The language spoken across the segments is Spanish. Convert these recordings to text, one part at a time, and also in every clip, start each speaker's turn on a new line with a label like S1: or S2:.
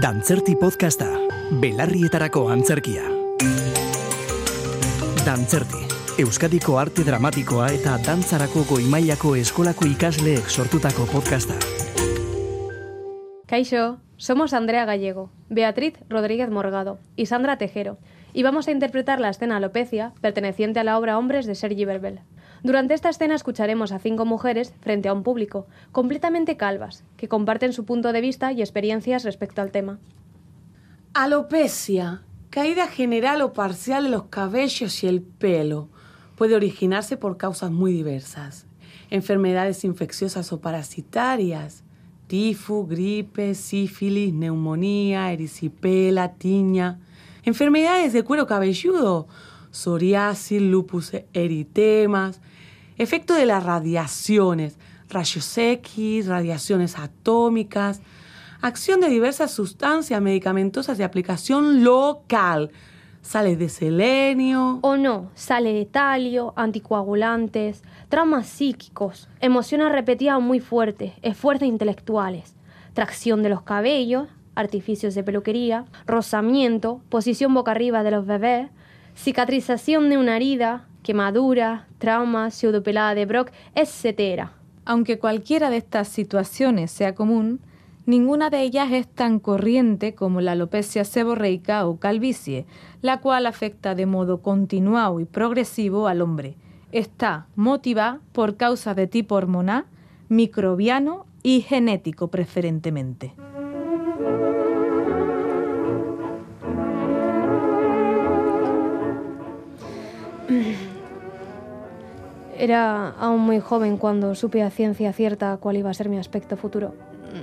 S1: Dantzerti podcasta, belarrietarako antzerkia. Dantzerti, Euskadiko arte dramatikoa eta dantzarako goimailako eskolako ikasleek sortutako podcasta.
S2: Kaixo, somos Andrea Gallego, Beatriz Rodríguez Morgado y Sandra Tejero, y vamos a interpretar la escena Alopecia, perteneciente a la obra Hombres de Sergi Verbel. Durante esta escena escucharemos a cinco mujeres frente a un público, completamente calvas, que comparten su punto de vista y experiencias respecto al tema.
S3: Alopecia, caída general o parcial de los cabellos y el pelo, puede originarse por causas muy diversas. Enfermedades infecciosas o parasitarias, tifo, gripe, sífilis, neumonía, erisipela, tiña. Enfermedades de cuero cabelludo, psoriasis, lupus eritemas, efecto de las radiaciones, rayos X, radiaciones atómicas, acción de diversas sustancias medicamentosas de aplicación local, sales de selenio.
S2: O no, sale de talio, anticoagulantes, traumas psíquicos, emociones repetidas muy fuertes, esfuerzos intelectuales, tracción de los cabellos, artificios de peluquería, rozamiento, posición boca arriba de los bebés, cicatrización de una herida, quemadura, trauma, pseudopelada de Brock, etc.
S4: Aunque cualquiera de estas situaciones sea común, ninguna de ellas es tan corriente como la alopecia seborreica o calvicie, la cual afecta de modo continuado y progresivo al hombre. Está motivada por causas de tipo hormonal, microbiano y genético preferentemente.
S2: Era aún muy joven cuando supe a ciencia cierta cuál iba a ser mi aspecto futuro.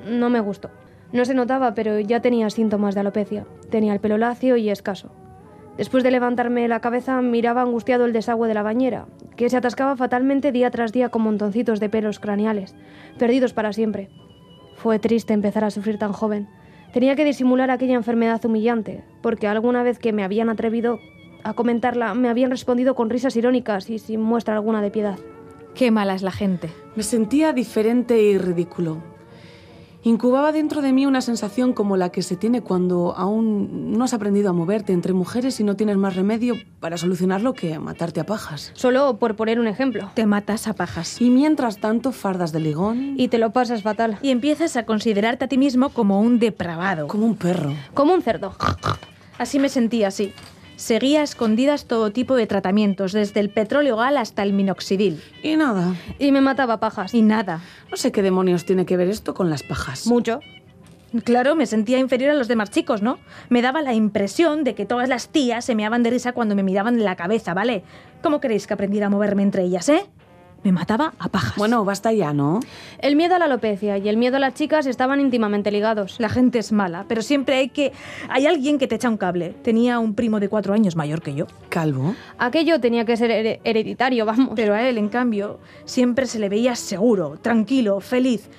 S2: No me gustó. No se notaba, pero ya tenía síntomas de alopecia. Tenía el pelo lacio y escaso. Después de levantarme la cabeza, miraba angustiado el desagüe de la bañera, que se atascaba fatalmente día tras día con montoncitos de pelos craneales, perdidos para siempre. Fue triste empezar a sufrir tan joven. Tenía que disimular aquella enfermedad humillante, porque alguna vez que me habían atrevido a comentarla, me habían respondido con risas irónicas y sin muestra alguna de piedad.
S4: Qué mala es la gente.
S3: Me sentía diferente y ridículo. Incubaba dentro de mí una sensación como la que se tiene cuando aún no has aprendido a moverte entre mujeres y no tienes más remedio para solucionarlo que matarte a pajas.
S2: Solo por poner un ejemplo.
S4: Te matas a pajas.
S3: Y mientras tanto, fardas de ligón.
S2: Y te lo pasas fatal.
S4: Y empiezas a considerarte a ti mismo como un depravado.
S3: Como un perro.
S2: Como un cerdo.
S4: Así me sentía, así. Seguía a escondidas todo tipo de tratamientos, desde el petróleo gal hasta el minoxidil.
S3: Y nada.
S2: Y me mataba a pajas.
S4: Y nada.
S3: No sé qué demonios tiene que ver esto con las pajas.
S2: Mucho.
S4: Claro, me sentía inferior a los demás chicos, ¿no? Me daba la impresión de que todas las tías se meaban de risa cuando me miraban de la cabeza, ¿vale? ¿Cómo queréis que aprendiera a moverme entre ellas, eh? Me mataba a pajas.
S3: Bueno, basta ya, ¿no?
S2: El miedo a la alopecia y el miedo a las chicas estaban íntimamente ligados.
S4: La gente es mala, pero siempre hay que... Hay alguien que te echa un cable. Tenía un primo de cuatro años mayor que yo.
S3: Calvo.
S2: Aquello tenía que ser her- hereditario, vamos.
S4: Pero a él, en cambio, siempre se le veía seguro, tranquilo, feliz.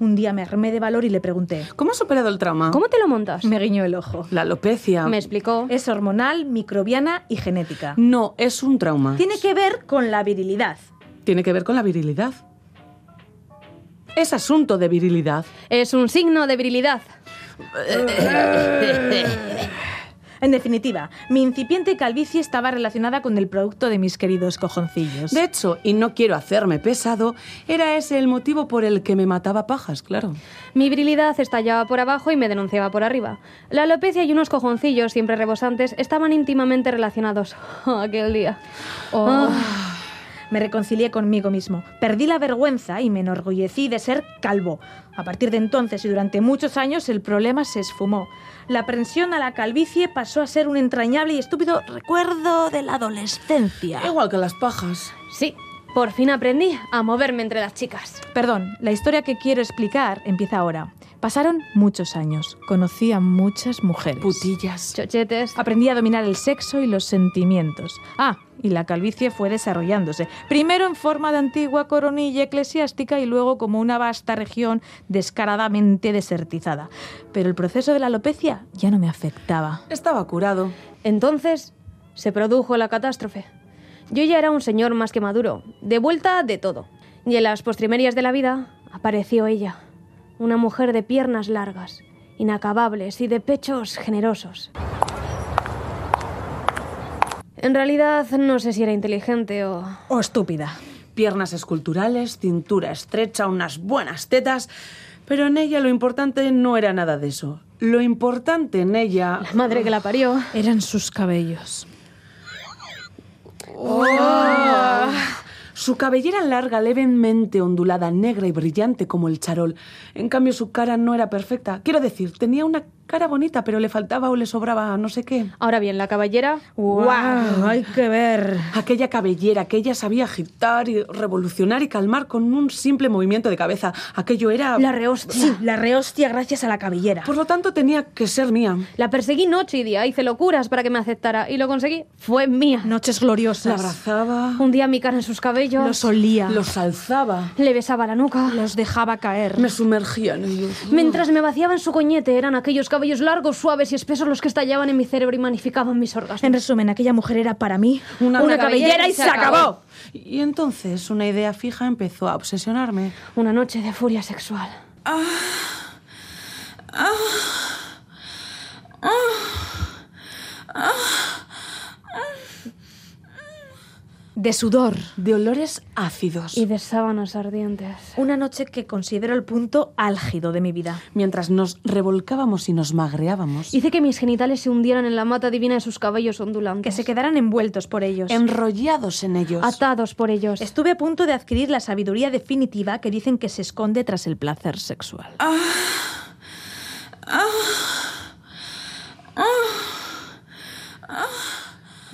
S4: Un día me armé de valor y le pregunté.
S3: ¿Cómo has superado el trauma?
S2: ¿Cómo te lo montas?
S4: Me guiñó el ojo.
S3: La alopecia.
S2: Me explicó.
S4: Es hormonal, microbiana y genética.
S3: No, es un trauma.
S4: Tiene que ver con la virilidad.
S3: Tiene que ver con la virilidad. Es asunto de virilidad.
S2: Es un signo de virilidad.
S4: En definitiva, mi incipiente calvicie estaba relacionada con el producto de mis queridos cojoncillos.
S3: De hecho, y no quiero hacerme pesado, era ese el motivo por el que me mataba pajas, claro.
S2: Mi virilidad estallaba por abajo y me denunciaba por arriba. La alopecia y unos cojoncillos siempre rebosantes estaban íntimamente relacionados. Aquel día. Ah.
S4: Oh. Me reconcilié conmigo mismo. Perdí la vergüenza y me enorgullecí de ser calvo. A partir de entonces y durante muchos años el problema se esfumó. La aprensión a la calvicie pasó a ser un entrañable y estúpido recuerdo de la adolescencia.
S3: Igual que las pajas.
S2: Sí, por fin aprendí a moverme entre las chicas.
S4: Perdón, la historia que quiero explicar empieza ahora. Pasaron muchos años. Conocí a muchas mujeres.
S3: Putillas.
S2: Chochetes.
S4: Aprendí a dominar el sexo y los sentimientos. Ah, y la calvicie fue desarrollándose, primero en forma de antigua coronilla eclesiástica y luego como una vasta región descaradamente desertizada. Pero el proceso de la alopecia ya no me afectaba.
S3: Estaba curado.
S2: Entonces se produjo la catástrofe. Yo ya era un señor más que maduro, de vuelta de todo. Y en las postrimerias de la vida apareció ella, una mujer de piernas largas inacabables y de pechos generosos. En realidad no sé si era inteligente o...
S5: O estúpida.
S3: Piernas esculturales, cintura estrecha, unas buenas tetas. Pero en ella lo importante no era nada de eso. Lo importante en ella...
S2: La madre que la parió.
S5: Eran sus cabellos.
S3: ¡Oh! Su cabellera larga, levemente ondulada, negra y brillante como el charol. En cambio, su cara no era perfecta. Quiero decir, tenía una cara bonita, pero le faltaba o le sobraba no sé qué.
S2: Ahora bien, la caballera...
S5: ¡Guau! Hay que ver.
S3: Aquella cabellera que ella sabía agitar y revolucionar y calmar con un simple movimiento de cabeza. Aquello era...
S4: La rehostia. Sí, la rehostia gracias a la cabellera.
S3: Por lo tanto, tenía que ser mía.
S2: La perseguí noche y día, hice locuras para que me aceptara y lo conseguí. Fue mía.
S5: Noches
S3: La
S5: gloriosas.
S3: abrazaba,
S2: Un día mi cara en sus cabellos.
S5: Los olía.
S3: los alzaba,
S2: Le besaba la nuca.
S5: Los dejaba caer.
S3: me sumergía en ellos.
S2: Mientras me vaciaban su coñete, eran aquellos cabellos largos, suaves y espesos los que estallaban en mi cerebro y magnificaban mis
S4: En
S2: orgasmos.
S4: resumen, aquella mujer era para mí una,
S2: una
S4: cabellera y se acabó.
S3: Y entonces una idea fija empezó a obsesionarme.
S2: Una noche de furia sexual.
S5: De sudor.
S3: De olores ácidos.
S2: Y de sábanas ardientes.
S4: Una noche que considero el punto álgido de mi vida.
S3: Mientras nos revolcábamos y nos magreábamos,
S2: Hice que mis genitales se hundieran en la mata divina de sus cabellos ondulantes.
S4: Que se quedaran envueltos por ellos.
S3: Em- enrollados en ellos.
S2: Atados por ellos.
S4: Estuve a punto de adquirir la sabiduría definitiva que dicen que se esconde tras el placer sexual.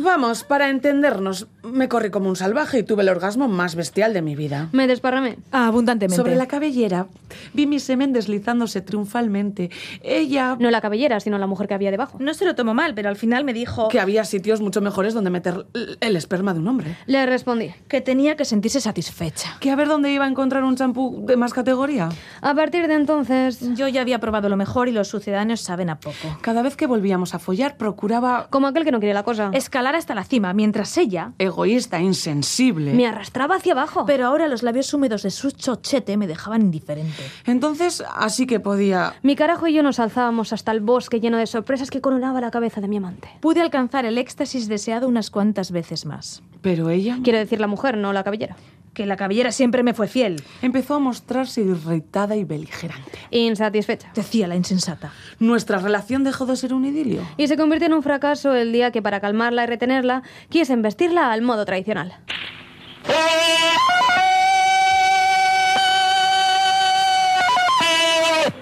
S3: Vamos, para entendernos, me corrí como un salvaje y tuve el orgasmo más bestial de mi vida.
S2: Me desparramé.
S5: Abundantemente.
S3: Sobre la cabellera, vi mi semen deslizándose triunfalmente. Ella...
S2: No la cabellera, sino la mujer que había debajo.
S4: No se lo tomó mal, pero al final me dijo
S3: Que había sitios mucho mejores donde meter l- el esperma de un hombre.
S2: Le respondí.
S4: que tenía que
S5: que sentirse satisfecha.
S3: Que a ver dónde iba a encontrar un champú de más categoría.
S2: A partir de entonces,
S4: Yo ya había probado lo mejor y los sucedáneos saben a poco.
S3: Cada vez que volvíamos a follar, procuraba...
S2: como aquel que no quiere la cosa,
S4: Escalar hasta la cima, mientras ella...
S3: Egoísta, insensible.
S2: me arrastraba hacia abajo.
S4: Pero ahora los labios húmedos de su chochete me dejaban indiferente.
S3: Entonces, así que podía...
S2: Mi carajo y yo nos alzábamos hasta el bosque lleno de sorpresas que coronaba la cabeza de mi amante.
S4: Pude alcanzar el éxtasis deseado unas cuantas veces más.
S3: Pero ella...
S2: Quiero decir la mujer, no la cabellera.
S4: Que la cabellera siempre me fue fiel,
S3: Empezó a mostrarse irritada y beligerante.
S2: Insatisfecha.
S4: decía la insensata.
S3: Nuestra relación dejó de ser un idilio.
S2: Y se convirtió en un fracaso el día que, para calmarla y retenerla, quiesen vestirla al modo tradicional.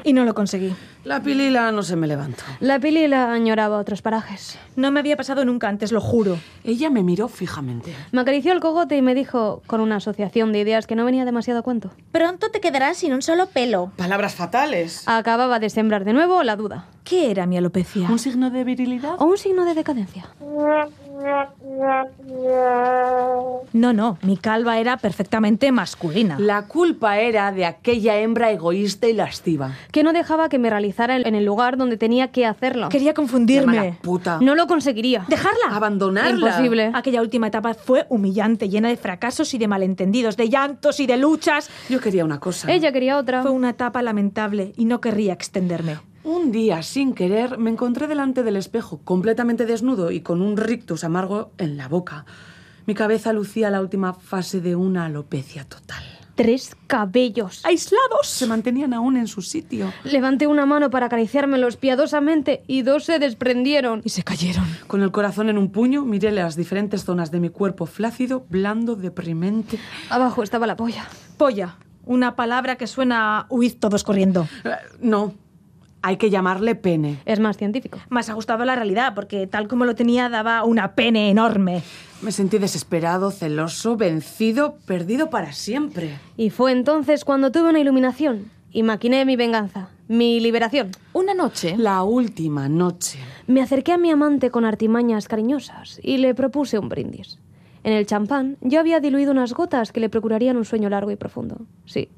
S4: Y no lo conseguí.
S3: La pilila no se me levantó.
S2: La pilila añoraba otros parajes.
S4: No me había pasado nunca antes, lo juro.
S3: Ella me miró fijamente.
S2: Me acarició el cogote y me dijo, con una asociación de ideas que no venía demasiado a cuento.
S6: Pronto te quedarás sin un solo pelo.
S3: Palabras fatales.
S2: Acababa de sembrar de nuevo la duda.
S4: ¿Qué era mi alopecia?
S3: ¿Un signo de virilidad?
S2: O un signo de decadencia.
S4: No, no, mi calva era perfectamente masculina.
S3: La culpa era de aquella hembra egoísta y lasciva.
S2: Que no dejaba que me realizara en el lugar donde tenía que hacerlo.
S4: Quería
S3: Mala
S4: confundirme.
S3: puta.
S2: No lo conseguiría.
S4: ¿Dejarla?
S3: Abandonarla.
S2: Imposible.
S4: Aquella última etapa fue humillante, llena de fracasos y de malentendidos, de llantos y de luchas.
S3: Yo quería una cosa.
S2: Ella quería otra.
S4: Fue una etapa lamentable y no querría extenderme.
S3: Un día, sin querer, me encontré delante del espejo, completamente desnudo y con un rictus amargo en la boca. Mi cabeza lucía la última fase de una alopecia total.
S2: Tres cabellos.
S3: Se
S4: ¡Aislados!
S3: mantenían aún en su sitio.
S2: Levanté una mano para acariciármelos piadosamente y dos se desprendieron.
S5: Y se cayeron.
S3: Con el corazón en un puño, miré las diferentes zonas de mi cuerpo flácido, blando, deprimente.
S2: Abajo estaba la polla.
S4: Polla, una palabra que suena a huid todos corriendo.
S3: Eh, No, hay que llamarle pene.
S2: Es más científico.
S4: Más ajustado a la realidad, porque tal como lo tenía daba una pene enorme.
S3: Me sentí desesperado, celoso, vencido, perdido para siempre.
S2: Y fue entonces cuando tuve una iluminación y maquiné mi venganza, mi liberación.
S5: Una noche,
S3: La última noche.
S2: Me acerqué a mi amante con artimañas cariñosas y le propuse un brindis. En el champán yo había diluido unas gotas que le procurarían un sueño largo y profundo. Sí.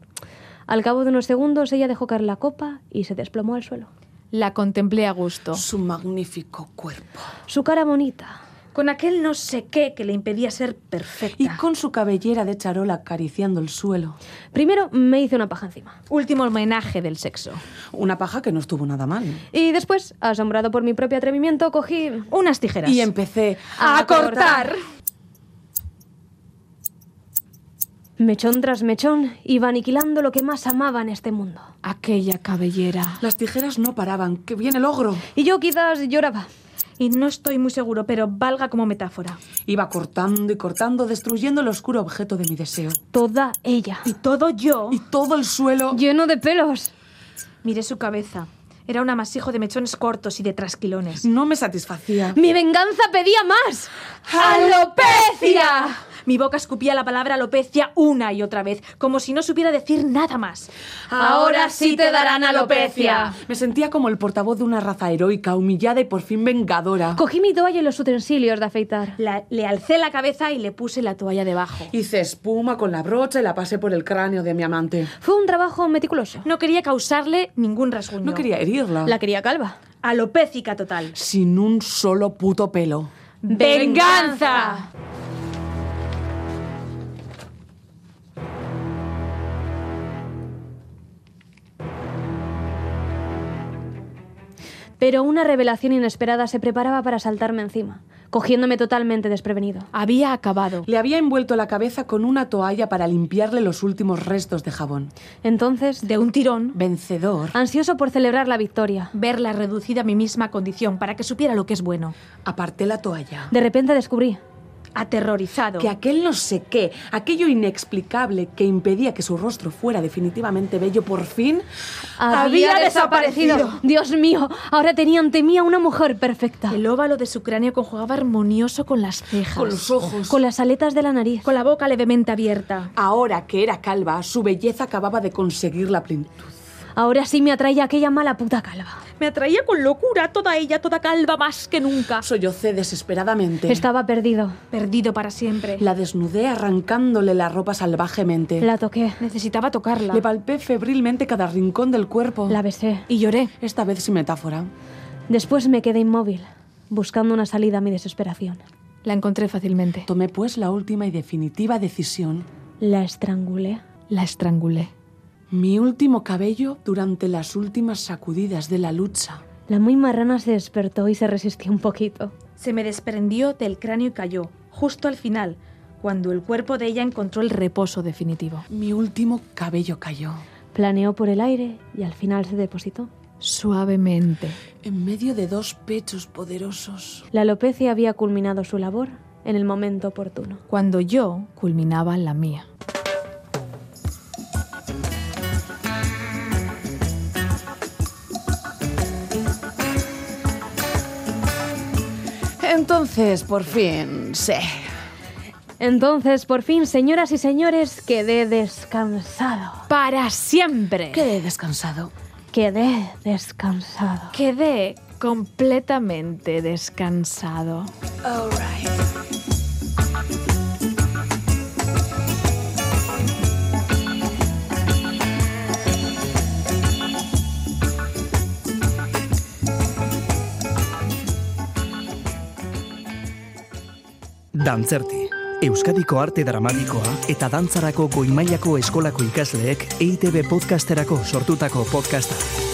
S2: Al cabo de unos segundos ella dejó caer la copa y se desplomó al suelo.
S5: la contemplé a gusto.
S3: Su magnífico cuerpo.
S2: Su cara bonita,
S7: con aquel no sé qué que le impedía ser perfecta.
S3: y con su cabellera de charola acariciando el suelo.
S2: Primero me hice una paja encima.
S4: Último homenaje del sexo.
S3: Una paja que no estuvo nada mal.
S2: Y después, asombrado por mi propio atrevimiento, cogí...
S4: Unas tijeras.
S3: Y empecé
S2: ¡A cortar! Mechón tras mechón, iba aniquilando lo que más amaba en este mundo.
S4: Aquella cabellera.
S3: Las tijeras no paraban. ¡Que viene el ogro!
S2: Y yo quizás lloraba.
S7: Y no estoy muy seguro, pero valga como metáfora.
S3: Iba cortando y cortando, destruyendo el oscuro objeto de mi deseo.
S2: Toda ella.
S7: Y todo yo.
S3: Y todo el suelo...
S2: Lleno de pelos.
S7: Miré su cabeza. Era un amasijo de mechones cortos y de trasquilones.
S3: No me satisfacía.
S2: Mi venganza pedía más. ¡Alopecia!
S7: Mi boca escupía la palabra alopecia una y otra vez, como si no supiera decir nada más.
S2: Ahora sí te darán alopecia.
S3: Me sentía como el portavoz de una raza heroica, humillada y por fin vengadora.
S2: Cogí mi toalla y los utensilios de afeitar.
S7: La- le alcé la cabeza y le puse la toalla debajo.
S3: Hice espuma con la brocha y la pasé por el cráneo de mi amante.
S2: Fue un trabajo meticuloso.
S7: No quería causarle ningún rasguño.
S3: No quería herirla.
S2: La quería calva.
S7: Alopécica total.
S3: Sin un solo puto pelo.
S7: ¡Venganza!
S2: Pero una revelación inesperada se preparaba para saltarme encima, cogiéndome totalmente desprevenido.
S4: Había acabado.
S3: Le había envuelto la cabeza con una toalla para limpiarle los últimos restos de jabón.
S2: Entonces,
S7: De un tirón,
S3: Vencedor,
S2: ansioso por celebrar la victoria,
S7: verla reducida a mi misma condición para que supiera lo que es bueno.
S3: aparté la toalla.
S2: de repente descubrí
S7: Aterrorizado.
S3: Que aquel no sé qué, aquello inexplicable que impedía que su rostro fuera definitivamente bello, por fin
S2: Había desaparecido. Dios mío, ahora tenía ante mí a una mujer perfecta.
S7: El óvalo de su cráneo conjugaba armonioso con las cejas.
S3: con los ojos.
S2: Con las aletas de la nariz.
S7: con la boca levemente abierta.
S3: Ahora que era calva, su belleza acababa de conseguir la plenitud.
S2: Ahora sí me atrae aquella mala puta calva.
S7: Me atraía con locura toda ella, toda calva más que nunca.
S3: Sollocé desesperadamente.
S2: Estaba perdido.
S7: Perdido para siempre.
S3: La desnudé arrancándole la ropa salvajemente.
S2: La toqué,
S7: Necesitaba tocarla.
S3: Le palpé febrilmente cada rincón del cuerpo.
S2: la besé.
S7: Y lloré.
S3: Esta vez sin metáfora.
S2: Después me quedé inmóvil, buscando una salida a mi desesperación.
S4: La encontré fácilmente.
S3: Tomé pues la última y definitiva decisión.
S2: La estrangulé.
S4: La estrangulé.
S3: Mi último cabello durante las últimas sacudidas de la lucha.
S2: La muy marrana se despertó y se resistió un poquito.
S7: Se me desprendió del cráneo y cayó, justo al final, cuando el cuerpo de ella encontró el
S4: Reposo definitivo.
S3: Mi último cabello cayó.
S2: Planeó por el aire y al final se depositó.
S4: Suavemente.
S3: En medio de dos pechos poderosos.
S2: La alopecia había culminado su labor en el momento oportuno.
S4: Cuando yo culminaba la mía.
S3: Entonces, por fin, sé.
S2: Entonces, por fin, señoras y señores, quedé descansado.
S4: Para siempre.
S3: Quedé descansado.
S2: Quedé descansado.
S4: Quedé completamente descansado.
S1: Dantzerti, Euskadiko arte dramatikoa eta E dantzarako goimailako eskolako ikasleek EITB podcasterako sortutako podcasta.